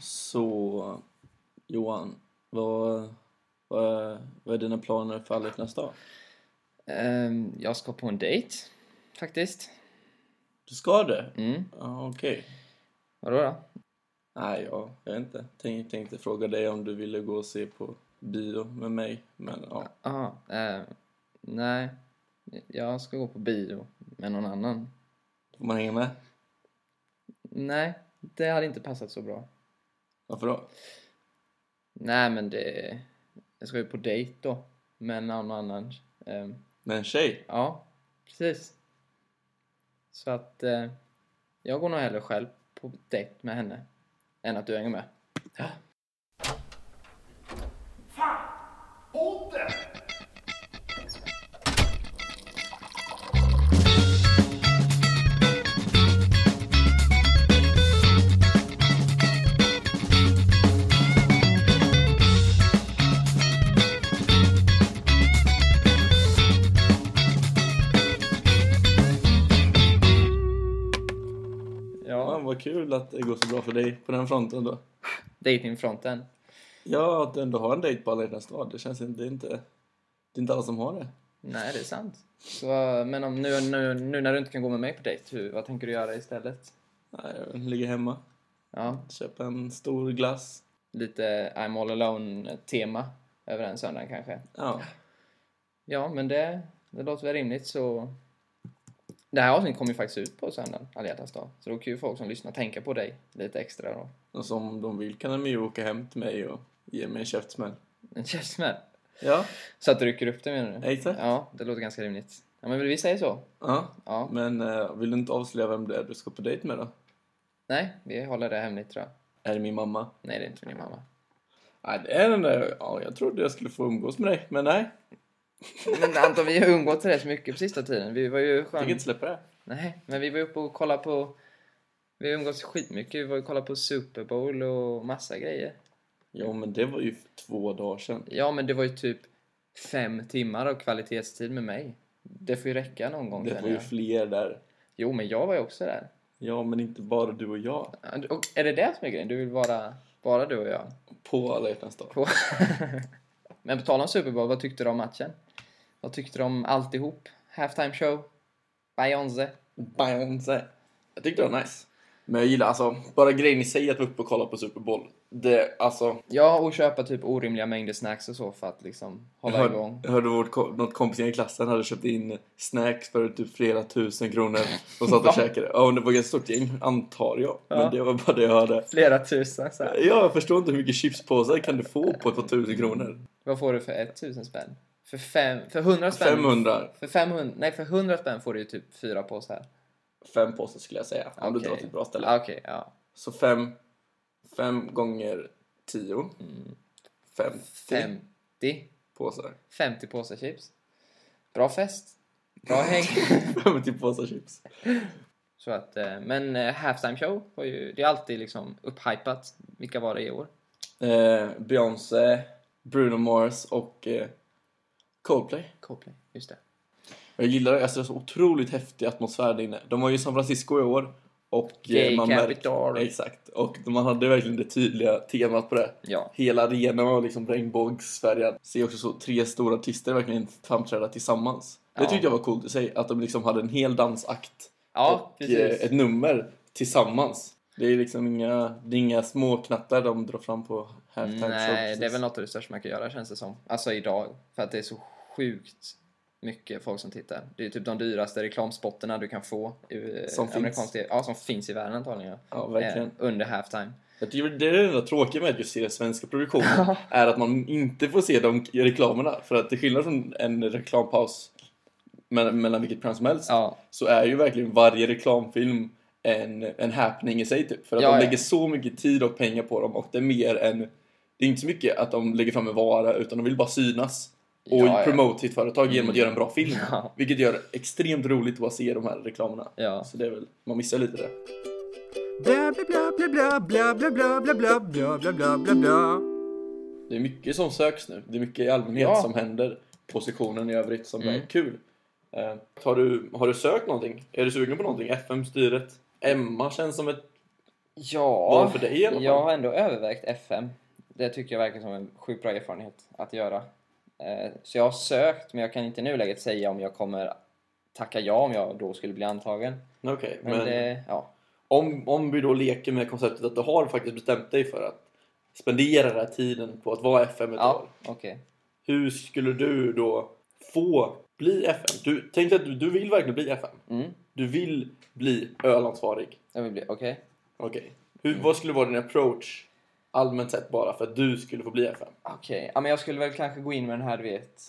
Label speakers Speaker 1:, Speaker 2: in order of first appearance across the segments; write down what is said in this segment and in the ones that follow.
Speaker 1: Så Johan, vad, vad, vad är dina planer för Alf nästa år?
Speaker 2: Ehm, jag ska på en dejt, faktiskt.
Speaker 1: Du ska det?
Speaker 2: Mm.
Speaker 1: Ja, okej.
Speaker 2: Vadå då?
Speaker 1: Nej, jag jag vet inte. Tänk, tänkte fråga dig om du ville gå och se på bio med mig, men ja.
Speaker 2: Jaha, ehm, nej. Jag ska gå på bio med någon annan.
Speaker 1: Får man hänga med?
Speaker 2: Nej, det hade inte passat så bra.
Speaker 1: Varför då?
Speaker 2: Nej, men det... Jag ska ju på dejt då, med någon annan. Ehm,
Speaker 1: Med en tjej?
Speaker 2: ja, precis. Så att eh, jag går nog hellre själv på dejt med henne än att du hänger med.
Speaker 1: Ja,
Speaker 2: Ja,
Speaker 1: vad kul att det går så bra för dig på den fronten då.
Speaker 2: dejtingfronten.
Speaker 1: Ja, att du ändå har en dejt på alla hjärtans dag. Det känns inte... Det är inte, det är inte alla som har det.
Speaker 2: Nej, det är sant. Så, men om nu, nu, nu när du inte kan gå med mig på dejt, hur, vad tänker du göra istället?
Speaker 1: Nej, jag ligger hemma,
Speaker 2: Ja,
Speaker 1: köper en stor glass.
Speaker 2: lite I'm all alone-tema över den söndagen kanske.
Speaker 1: Ja,
Speaker 2: Ja, men det, det låter väl rimligt så... Det här avsnittet kommer ju faktiskt ut på söndagen, alla hjärtans dag. Så då kan ju folk som lyssnar tänka på dig lite extra då.
Speaker 1: och som om de vill kan de ju åka hem till mig och ge mig en käftsmäll.
Speaker 2: En käftsmäll.
Speaker 1: Ja,
Speaker 2: Så att du rycker upp det menar du?
Speaker 1: exakt. Ja.
Speaker 2: Ja, det låter ganska rimligt. Ja, men vi säger så. Ja.
Speaker 1: Men eh, vill du inte avslöja vem det är du ska på dejt med då?
Speaker 2: Nej, vi håller det hemligt tror jag.
Speaker 1: Är det min mamma?
Speaker 2: Nej, det är inte min mamma.
Speaker 1: Nej, det är den där... Ja, jag trodde jag skulle få umgås med dig, men nej.
Speaker 2: Men Anton, vi har umgåtts rätt mycket på sista tiden. Vi var ju
Speaker 1: Jag
Speaker 2: skön...
Speaker 1: tänker inte släppa det.
Speaker 2: Nej, men vi var uppe och kollade på... Vi har umgåtts skitmycket. Vi var och kollade på Super Bowl och massa grejer.
Speaker 1: Jo, men det var ju för två dagar sedan.
Speaker 2: Ja, men det var ju typ fem timmar av kvalitetstid med mig. Det får ju räcka någon gång.
Speaker 1: Det
Speaker 2: känner
Speaker 1: var ju
Speaker 2: jag.
Speaker 1: fler där.
Speaker 2: Jo, men jag var ju också där.
Speaker 1: Ja, men inte bara du och jag.
Speaker 2: Och är det det som är grejen? Du vill vara bara du och jag?
Speaker 1: På alla hjärtans dag.
Speaker 2: På... men på tal om Super Bowl, vad tyckte du om matchen? Vad tyckte du om alltihop? Halftime show? Beyoncé?
Speaker 1: Beyoncé. Jag tyckte det var nice. Men jag gillar alltså, bara grejen i sig att vara uppe och kolla på Super Bowl. Det, alltså...
Speaker 2: Ja, och köpa typ orimliga mängder snacks och så för att liksom hålla
Speaker 1: jag
Speaker 2: igång.
Speaker 1: hörde, jag hörde vårt, ko- något kompisgäng i klassen hade köpt in snacks för typ flera tusen kronor och satt
Speaker 2: Va?
Speaker 1: och käkade. Ja, och det var ett stort gäng, antar jag.
Speaker 2: Ja.
Speaker 1: Men det var bara det jag hörde.
Speaker 2: Flera tusen så
Speaker 1: Ja,
Speaker 2: här.
Speaker 1: jag förstår inte hur mycket chipspåsar kan du få på ett par tusen kronor?
Speaker 2: Vad får du för 1000 spänn? För, fem, för 100 spänn?
Speaker 1: 500.
Speaker 2: För 500, nej för 100 spänn får du ju typ fyra påsar.
Speaker 1: Fem påsar skulle jag säga, om du
Speaker 2: Okej.
Speaker 1: drar till ett bra ställe.
Speaker 2: Ah, Okej, ja.
Speaker 1: Så fem, fem gånger tio. Fem, Mm. fem
Speaker 2: 50.
Speaker 1: påsar.
Speaker 2: 50 påsar chips. Bra fest. Bra häng.
Speaker 1: 50 påsar chips.
Speaker 2: Så att, eh, men eh, halftime show var ju, det är alltid liksom upphypat. Vilka var det i år?
Speaker 1: Eh, Beyoncé, Bruno Mars och eh, Coldplay.
Speaker 2: Coldplay, just det.
Speaker 1: Jag gillar det, alltså, det är så otroligt häftig atmosfär där inne. De var ju i San Francisco i år. Och
Speaker 2: Gay
Speaker 1: märk-
Speaker 2: capital.
Speaker 1: Exakt. Och man hade verkligen det tydliga temat på det.
Speaker 2: Ja.
Speaker 1: Hela arenan var liksom regnbågsfärgad. Ser också så tre stora artister verkligen framträda tillsammans. Det
Speaker 2: Ja.
Speaker 1: tyckte jag var coolt i sig, att de liksom hade en hel dansakt
Speaker 2: Ja,
Speaker 1: och eh,
Speaker 2: precis.
Speaker 1: ett nummer tillsammans. Det är liksom inga, det är inga små knattar de drar fram på halftime show,
Speaker 2: Nej,
Speaker 1: precis.
Speaker 2: det är väl något av det största man kan göra känns det som. Alltså idag. För att det är så sjukt mycket folk som tittar. Det är typ de dyraste reklamspotterna du kan få. i, eh,
Speaker 1: Som finns.
Speaker 2: amerikansk TV. Ja, som finns i världen antagligen. ja.
Speaker 1: Ja, verkligen.
Speaker 2: Eh, under halftime.
Speaker 1: Jag tycker det är det enda tråkiga med att just se den svenska produktionen är att man inte får se de reklamerna. För att till skillnad från en reklampaus mellan, mellan vilket program som helst
Speaker 2: Ja,
Speaker 1: så är ju verkligen varje reklamfilm en, en happening i sig typ. För att
Speaker 2: Ja,
Speaker 1: de
Speaker 2: ja.
Speaker 1: lägger så mycket tid och pengar på dem och det är mer än... Det är inte så mycket att de lägger fram en vara utan de vill bara synas och
Speaker 2: Ja, ja.
Speaker 1: promote sitt företag genom att göra en bra film.
Speaker 2: Ja.
Speaker 1: Vilket gör det extremt roligt att bara se de här reklamerna.
Speaker 2: ja.
Speaker 1: Så det är väl, man missar lite det.
Speaker 3: Blah blah blah blah blah blah blah blah blah blah blah blah blah blah.
Speaker 1: Det är mycket som söks nu. Det är mycket i allmänhet
Speaker 2: Ja.
Speaker 1: som händer på sektionen i övrigt som
Speaker 2: Mm.
Speaker 1: är kul. Eh, har, du, har du sökt någonting? Är du sugen på någonting? FM-styret? Emma känns som ett
Speaker 2: Ja,
Speaker 1: Bara för dig i alla fall.
Speaker 2: jag har ändå övervägt FM. Det tycker jag verkar som en sjukt bra erfarenhet att göra. Eh, Så jag har sökt, men jag kan inte i nuläget säga om jag kommer tacka ja om jag då skulle bli antagen.
Speaker 1: Okej,
Speaker 2: Men,
Speaker 1: men,
Speaker 2: det, ja.
Speaker 1: om, om vi då leker med konceptet att du har faktiskt bestämt dig för att spendera den här tiden på att vara FM ett
Speaker 2: Ja,
Speaker 1: år.
Speaker 2: okej.
Speaker 1: Hur skulle du då få bli FM? Du, tänk dig att du, du vill verkligen bli FM.
Speaker 2: Mm,
Speaker 1: Du vill bli ölansvarig.
Speaker 2: jag vill bli, okej.
Speaker 1: Okej. Hur- Vad skulle vara din approach allmänt sett bara för att du skulle få bli FM?
Speaker 2: Okej, ja, men jag skulle väl kanske gå in med den här, du vet.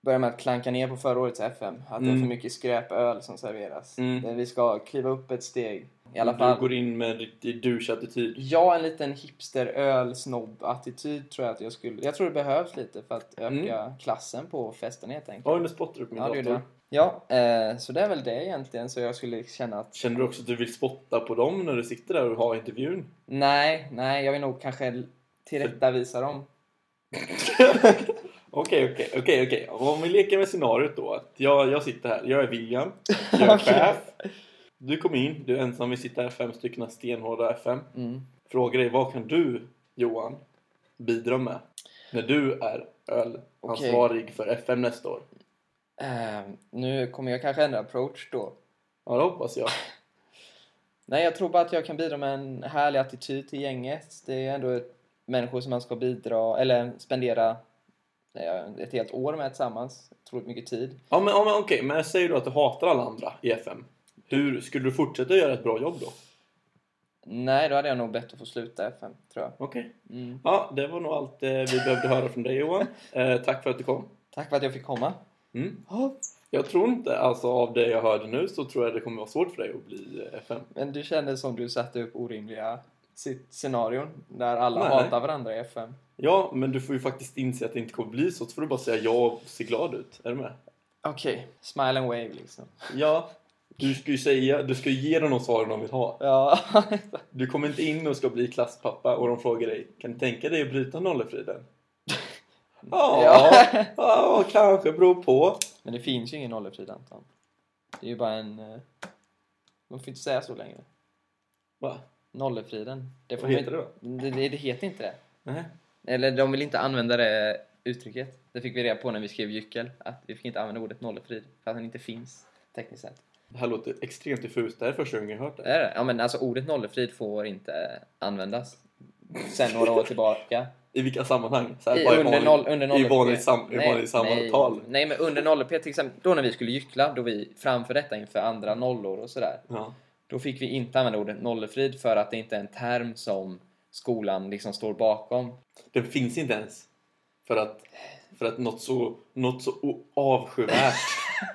Speaker 2: Börja med att klanka ner på förra årets FM. Att det är för
Speaker 1: Mm.
Speaker 2: mycket skräpöl som serveras.
Speaker 1: Mm.
Speaker 2: Men Vi ska kliva upp ett steg. I alla
Speaker 1: Du
Speaker 2: fall.
Speaker 1: går in med en riktig douche-attityd.
Speaker 2: Ja, en liten hipster-öl-snobb-attityd tror jag att jag skulle... Jag tror det behövs lite för att öka
Speaker 1: Mm.
Speaker 2: klassen på festen helt enkelt.
Speaker 1: Oj, nu spottar du på min
Speaker 2: ja, det är
Speaker 1: dator.
Speaker 2: det. Ja, eh, så det är väl det egentligen. Så jag skulle känna att
Speaker 1: Känner du också att du vill spotta på dem när du sitter där och har intervjun?
Speaker 2: nej, nej, jag vill nog kanske tillrättavisa dem.
Speaker 1: Okej, okej, okej, okej. Om vi leker med scenariot då. Att jag, jag sitter här, jag är William, jag är
Speaker 2: Okej.
Speaker 1: chef. Du kom in, du är ensam, vi sitter här fem stycken stenhårda FM.
Speaker 2: Mm.
Speaker 1: Frågar dig, vad kan du, Johan, bidra med? När du är ölansvarig för FM nästa år.
Speaker 2: Eh, nu kommer jag kanske ändra approach då.
Speaker 1: Ja, det hoppas jag.
Speaker 2: Nej, jag tror bara att jag kan bidra med en härlig attityd till gänget. Det är ändå människor som man ska bidra, eller spendera eh, ett helt år med tillsammans. Otroligt mycket tid.
Speaker 1: Ja, men, ja, men okej, men jag säger då att du hatar alla andra i FM. Hur skulle du fortsätta göra ett bra jobb då?
Speaker 2: Nej, då hade jag nog bett att få sluta FM, tror jag.
Speaker 1: Okej.
Speaker 2: Mm.
Speaker 1: Ja, det var nog allt eh, vi behövde höra från dig Johan. Eh, tack för att du kom.
Speaker 2: Tack för att jag fick komma.
Speaker 1: Mm.
Speaker 2: Ja,
Speaker 1: Jag tror inte, alltså av det jag hörde nu så tror jag det kommer vara svårt för dig att bli eh, FM.
Speaker 2: Men du kände som du satte upp orimliga sit- scenarion där alla
Speaker 1: Nej.
Speaker 2: hatar varandra i FM.
Speaker 1: Ja, men du får ju faktiskt inse att det inte kommer bli så. Så får du bara säga ja och se glad ut. Är du med?
Speaker 2: Okej. Smile and wave liksom.
Speaker 1: Ja. Du ska ju säga, du ska ju ge dem de svaren de vill ha.
Speaker 2: Ja,
Speaker 1: Du kommer inte in och ska bli klasspappa och de frågar dig Kan du tänka dig att bryta nollefriden? Ja, ja.
Speaker 2: Ja.
Speaker 1: kanske beror på.
Speaker 2: Men det finns ju ingen nollefrid Anton. Det är ju bara en... eh, Man får inte säga så längre.
Speaker 1: Va?
Speaker 2: Nollefriden. Det får
Speaker 1: Vad heter
Speaker 2: man
Speaker 1: det då?
Speaker 2: ju- det? Det, det heter inte det.
Speaker 1: Nej.
Speaker 2: Eller de vill inte använda det uttrycket. Det fick vi reda på när vi skrev gyckel. Att vi fick inte använda ordet nollefrid. För att den inte finns tekniskt sett.
Speaker 1: Det här låter extremt diffust. Det här är första gången jag hört det.
Speaker 2: Det är det. Ja men alltså ordet nollefrid får inte användas. Sen några år tillbaka.
Speaker 1: I vilka sammanhang? Så här,
Speaker 2: I,
Speaker 1: bara i
Speaker 2: under
Speaker 1: vanlig-
Speaker 2: noll, under noll
Speaker 1: I vanligt, sam, i vanligt samtal?
Speaker 2: Nej, men under 0 p till exempel, då när vi skulle gyckla, då vi framför detta inför andra nollor och sådär.
Speaker 1: Ja.
Speaker 2: Då fick vi inte använda ordet nollefrid för att det inte är en term som skolan liksom står bakom.
Speaker 1: Den finns inte ens. För att, för att något så, något så o- avskyvärt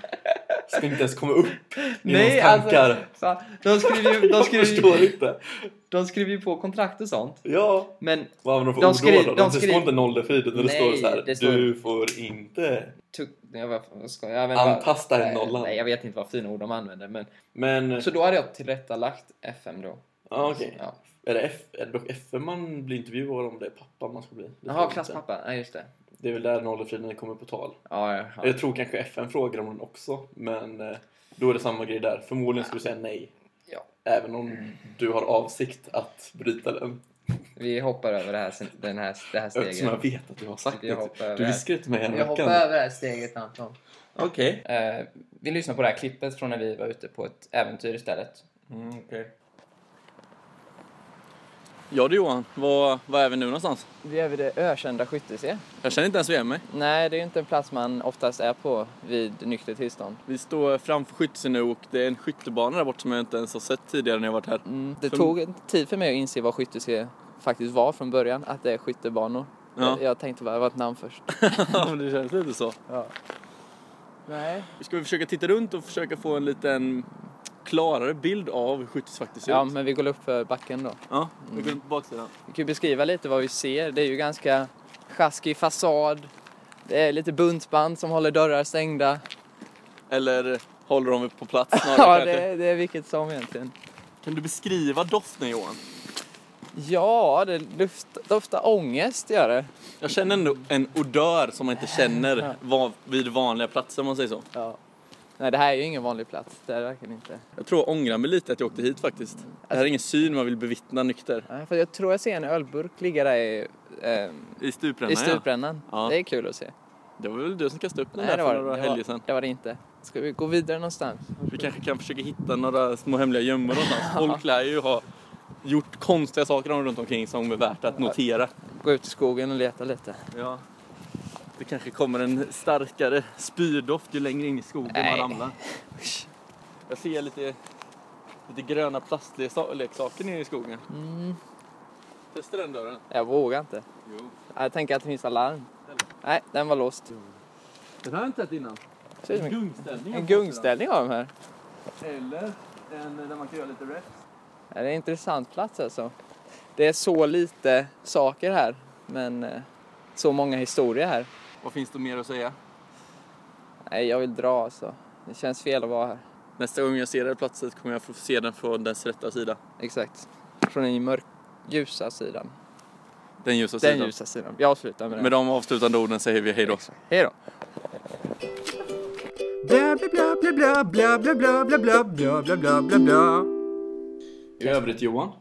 Speaker 1: ska inte ens komma upp i någons tankar.
Speaker 2: så, alltså, de skriver ju de
Speaker 1: jag
Speaker 2: skriver,
Speaker 1: förstår
Speaker 2: ju-
Speaker 1: inte.
Speaker 2: de skriver ju på kontrakt och sånt.
Speaker 1: Ja,
Speaker 2: Men
Speaker 1: vad använder de för
Speaker 2: De
Speaker 1: ord
Speaker 2: skri-
Speaker 1: då? då?
Speaker 2: de
Speaker 1: De det
Speaker 2: skri-
Speaker 1: står inte nollefrid utan det
Speaker 2: Nej,
Speaker 1: står så här.
Speaker 2: det står-
Speaker 1: Du får inte
Speaker 2: tu, jag, var, vad ska, jag vet inte vad-
Speaker 1: antasta en
Speaker 2: nej,
Speaker 1: nollan.
Speaker 2: nej, jag vet inte vad fina ord de använder. Men,
Speaker 1: Men,
Speaker 2: så då hade jag tillrättalagt FM då.
Speaker 1: ja Ah, okej.
Speaker 2: Ja.
Speaker 1: Är det F, är det dock FM man blir intervjuad om det är pappa man ska bli? Det tror jag
Speaker 2: Jaha,
Speaker 1: inte.
Speaker 2: klasspappa. Nej, just det.
Speaker 1: Det är väl där nollefriden kommer på tal.
Speaker 2: Ja, ja, ja.
Speaker 1: Jag tror kanske FN frågar om den också, men eh, då är det samma grej där. Förmodligen skulle du säga nej.
Speaker 2: Ja.
Speaker 1: Även om du har avsikt att bryta den.
Speaker 2: Vi hoppar över det här, sen- den här, det här
Speaker 1: Eftersom jag
Speaker 2: steget.
Speaker 1: vet att du har sagt
Speaker 2: Vi hoppar
Speaker 1: det.
Speaker 2: över
Speaker 1: Du
Speaker 2: här.
Speaker 1: viskade till mig
Speaker 2: Jag hoppar
Speaker 1: häromveckan.
Speaker 2: över det här steget Anton.
Speaker 1: Okej.
Speaker 2: Eh, vi lyssnar på det här klippet från när vi var ute på ett äventyr istället.
Speaker 1: Ja du Johan, var, var är vi nu någonstans?
Speaker 2: Vi är vid det ökända Skyttese.
Speaker 1: Jag känner inte ens igen mig.
Speaker 2: Nej, det är ju inte en plats man oftast är på vid nykter tillstånd.
Speaker 1: Vi står framför skyttse nu och det är en skyttebana där borta som jag inte ens har sett tidigare när jag varit här.
Speaker 2: Mm. Det
Speaker 1: För-
Speaker 2: tog en tid för mig att inse vad Skyttese faktiskt var från början, att det är skyttebanor.
Speaker 1: Ja.
Speaker 2: Jag, jag tänkte bara, det var ett namn först.
Speaker 1: Ja, men det känns lite så.
Speaker 2: Nej.
Speaker 1: Ska vi försöka titta runt och försöka få en liten klarare bild av hur skyttse faktiskt ser
Speaker 2: Ja,
Speaker 1: ut?
Speaker 2: men vi går upp för backen då.
Speaker 1: Ja, vi går in på baksidan.
Speaker 2: Vi kan ju beskriva lite vad vi ser. Det är ju ganska sjaskig fasad. Det är lite buntband som håller dörrar stängda.
Speaker 1: Eller håller de på plats snarare
Speaker 2: Ja,
Speaker 1: kanske?
Speaker 2: det, det är vilket som egentligen.
Speaker 1: Kan du beskriva doften Johan?
Speaker 2: Ja, det luft, doftar ångest gör det.
Speaker 1: Jag känner ändå en odör som man inte känner
Speaker 2: Ja.
Speaker 1: va- vid vanliga platser om man säger så.
Speaker 2: Ja.
Speaker 4: Nej, det här är ju ingen vanlig plats. Det är det verkligen inte.
Speaker 1: Jag tror jag ångrar mig lite att jag åkte hit faktiskt. Det här är ingen syn man vill bevittna nykter.
Speaker 4: Nej, för jag tror jag ser en ölburk ligga där i, ehm,
Speaker 1: I stuprännan
Speaker 4: i stuprännan.
Speaker 1: Ja.
Speaker 4: Det är kul att se.
Speaker 1: Det var väl du som kastade upp den
Speaker 4: Nej,
Speaker 1: där
Speaker 4: det
Speaker 1: för
Speaker 4: var det,
Speaker 1: några
Speaker 4: det,
Speaker 1: helger sedan.
Speaker 4: var, det var det inte. Ska vi gå vidare någonstans?
Speaker 1: Vi kanske kan försöka hitta några små hemliga gömmor någonstans. Folk lär ju ha gjort konstiga saker runt omkring som är värt att notera.
Speaker 4: Gå ut i skogen och leta lite.
Speaker 1: Ja. Det kanske kommer en starkare spydoft ju längre in i skogen
Speaker 4: Nej.
Speaker 1: man ramlar. Jag ser lite, lite gröna plastleksaker nere i skogen.
Speaker 4: Mm,
Speaker 1: Testa den dörren.
Speaker 4: jag vågar inte.
Speaker 1: Jo.
Speaker 4: Jag tänker att det finns alarm. Nej, den var låst.
Speaker 1: Den har jag inte sett innan.
Speaker 4: Ser ut som en-
Speaker 1: gungställning.
Speaker 4: En gungställning har de här.
Speaker 1: Eller en där man kan göra lite rest.
Speaker 4: Ja, Det är en intressant plats alltså. Det är så lite saker här, men eh, så många historier här.
Speaker 1: Vad finns det mer att säga?
Speaker 4: Nej, jag vill dra alltså. Det känns fel att vara här.
Speaker 1: Nästa gång jag ser det här platset kommer jag få se den från dess rätta sida.
Speaker 4: Exakt. Från den mörk, ljusa sidan.
Speaker 1: Den ljusa
Speaker 4: Den
Speaker 1: sidan.
Speaker 4: ljusa sidan. Jag avslutar med det.
Speaker 1: Med de avslutande orden säger vi hej då.
Speaker 4: Hej då.
Speaker 3: Bla bla bla bla bla bla bla bla bla bla bla bla bla bla.
Speaker 1: I övrigt Johan,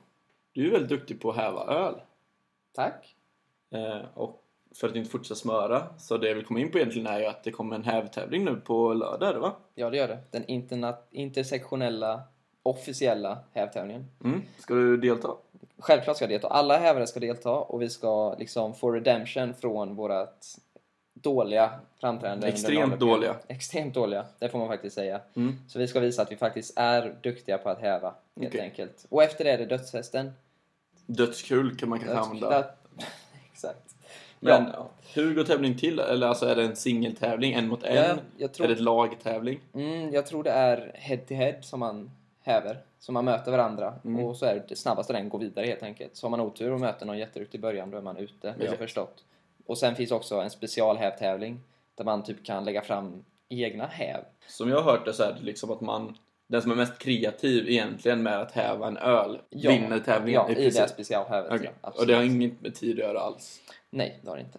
Speaker 1: du är väldigt duktig på att häva öl.
Speaker 2: Tack.
Speaker 1: Eh, och för att inte fortsätta smöra, så det jag vill komma in på egentligen är ju att det kommer en hävtävling nu på lördag, är det va?
Speaker 2: Ja, det gör det. Den interna- intersektionella officiella hävtävlingen.
Speaker 1: Mm. Ska du delta?
Speaker 2: Självklart ska jag delta. Alla hävare ska delta och vi ska liksom få redemption från vårat dåliga framträdande. under
Speaker 1: Extremt
Speaker 2: nollöppningen.
Speaker 1: dåliga.
Speaker 2: Extremt dåliga, det får man faktiskt säga.
Speaker 1: Mm.
Speaker 2: Så vi ska visa att vi faktiskt är duktiga på att häva, helt
Speaker 1: Okej.
Speaker 2: enkelt. Och efter det är det dödshästen.
Speaker 1: Dödskul kan man kanske använda.
Speaker 2: Döds- Exakt.
Speaker 1: Men
Speaker 2: ja.
Speaker 1: hur går tävlingen till? Eller alltså är det en singeltävling, en mot en?
Speaker 2: Ja, jag tror-
Speaker 1: Är det ett lagtävling?
Speaker 2: Mm, jag tror det är head to head som man häver. Så man möter varandra
Speaker 1: Mm.
Speaker 2: och så är det snabbaste den går vidare helt enkelt. Så har man otur och möter någon jätteduktig i början då är man ute, har
Speaker 1: Ja.
Speaker 2: jag förstått. Och sen finns också en specialhävtävling där man typ kan lägga fram egna häv.
Speaker 1: Som jag har hört det så är det liksom att man den som är mest kreativ egentligen med att häva en öl
Speaker 2: Ja.
Speaker 1: vinner tävlingen.
Speaker 2: Ja, i det här specialhävet.
Speaker 1: Okej.
Speaker 2: Ja, absolut.
Speaker 1: Och det har inget med tid att göra alls.
Speaker 2: Nej, det har det inte.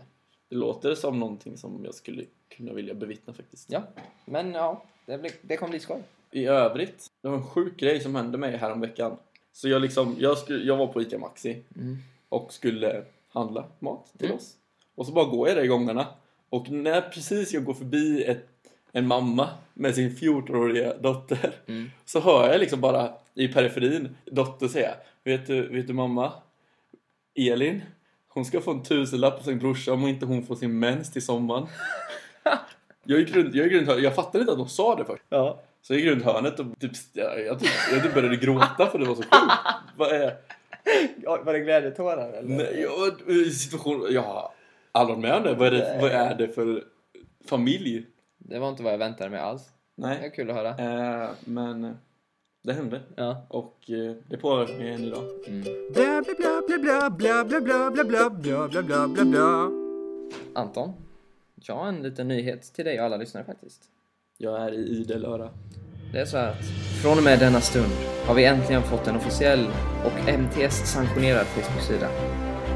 Speaker 1: Det låter som någonting som jag skulle kunna vilja bevittna faktiskt.
Speaker 2: Ja, men ja, det, blir, det kommer bli skoj.
Speaker 1: I övrigt, det var en sjuk grej som hände mig häromveckan. Så jag, liksom, jag, skulle, jag var på ICA Maxi
Speaker 2: Mm.
Speaker 1: och skulle handla mat till
Speaker 2: Mm.
Speaker 1: oss. Och så bara går jag där i gångarna. Och när precis jag går förbi ett, en mamma med sin 14-åriga dotter
Speaker 2: Mm.
Speaker 1: så hör jag liksom bara i periferin dotter säga Vet du, vet du mamma? Elin, hon ska få en tusenlapp av sin brorsa om inte hon får sin mens till sommaren. jag gick runt, jag gick runt, jag fattade inte att de sa det först.
Speaker 2: Ja.
Speaker 1: Så jag gick runt hörnet och typ, jag, jag, typ, jag typ började gråta för det var så sjukt. Vad är...
Speaker 2: Var det glädjetårar eller?
Speaker 1: Nej, jag, situation, jag har aldrig varit med om det. Vad är det, vad är det för familj?
Speaker 2: Det var inte vad jag väntade mig alls. Det är
Speaker 1: Nej.
Speaker 2: kul att höra.
Speaker 1: Eh, men eh, det hände.
Speaker 2: Ja.
Speaker 1: Och eh, det påverkar mig än idag.
Speaker 3: Bla bla bla bla bla bla bla bla bla bla bla bla bla bla.
Speaker 2: Anton, jag har en liten nyhet till dig och alla lyssnare faktiskt.
Speaker 1: Jag är i idel öra.
Speaker 2: Det är så här att från och med denna stund har vi äntligen fått en officiell och MTS-sanktionerad Facebook-sida.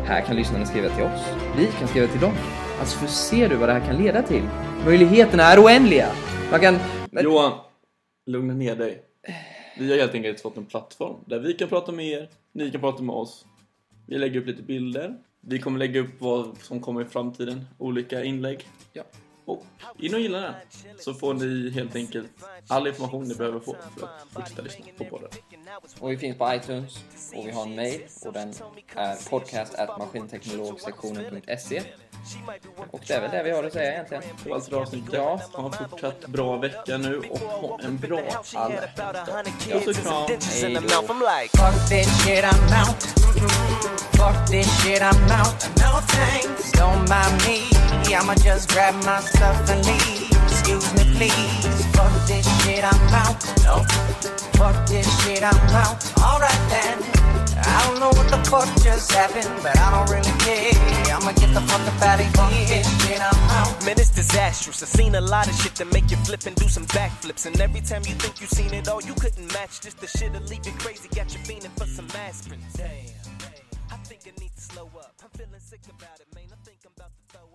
Speaker 2: Här kan lyssnarna skriva till oss. Vi kan skriva till dem. Alltså, för ser du vad det här kan leda till? Möjligheterna är oändliga! Man kan... Men-
Speaker 1: Johan, lugna ner dig. Vi har helt enkelt fått en plattform där vi kan prata med er, ni kan prata med oss. Vi lägger upp lite bilder. Vi kommer lägga upp vad som kommer i framtiden, olika inlägg.
Speaker 2: Ja.
Speaker 1: Och in och gilla den, så får ni helt enkelt all information ni behöver få för att fortsätta lyssna på podden.
Speaker 2: Och vi finns på iTunes och vi har en mail och den är podcast.maskinteknologsektionen.se Och det är väl det vi har att säga egentligen.
Speaker 1: Det var allt för avsnittet.
Speaker 2: Ja.
Speaker 1: Ha en fortsatt bra vecka nu och ha en bra
Speaker 5: She had
Speaker 1: alla.
Speaker 5: about a hundred
Speaker 1: Ja, så
Speaker 5: kids and some
Speaker 1: kram.
Speaker 5: dentures in
Speaker 2: Hej
Speaker 5: the
Speaker 2: då.
Speaker 5: mouth. I'm like,
Speaker 6: Fuck that shit, I'm out. Fuck that shit, I'm out.
Speaker 5: no thanks.
Speaker 6: Don't mind me, I'ma just grab my stuff and leave. Excuse me, please. Fuck this shit, I'm out.
Speaker 5: No.
Speaker 6: Fuck this shit, I'm out.
Speaker 5: Alright then.
Speaker 6: I don't know what the fuck just happened, but I don't really care. I'ma get the fuck up out of here. Fuck this shit, I'm out.
Speaker 5: Man, it's disastrous. I've seen a lot of shit that make you flip and do some backflips. And every time you think you seen it all, you couldn't match. Just the shit'll leave you crazy. Got you fiending for some aspirin. Damn. I think I need to slow up. I'm feeling sick about it, man. I think I'm about to throw up.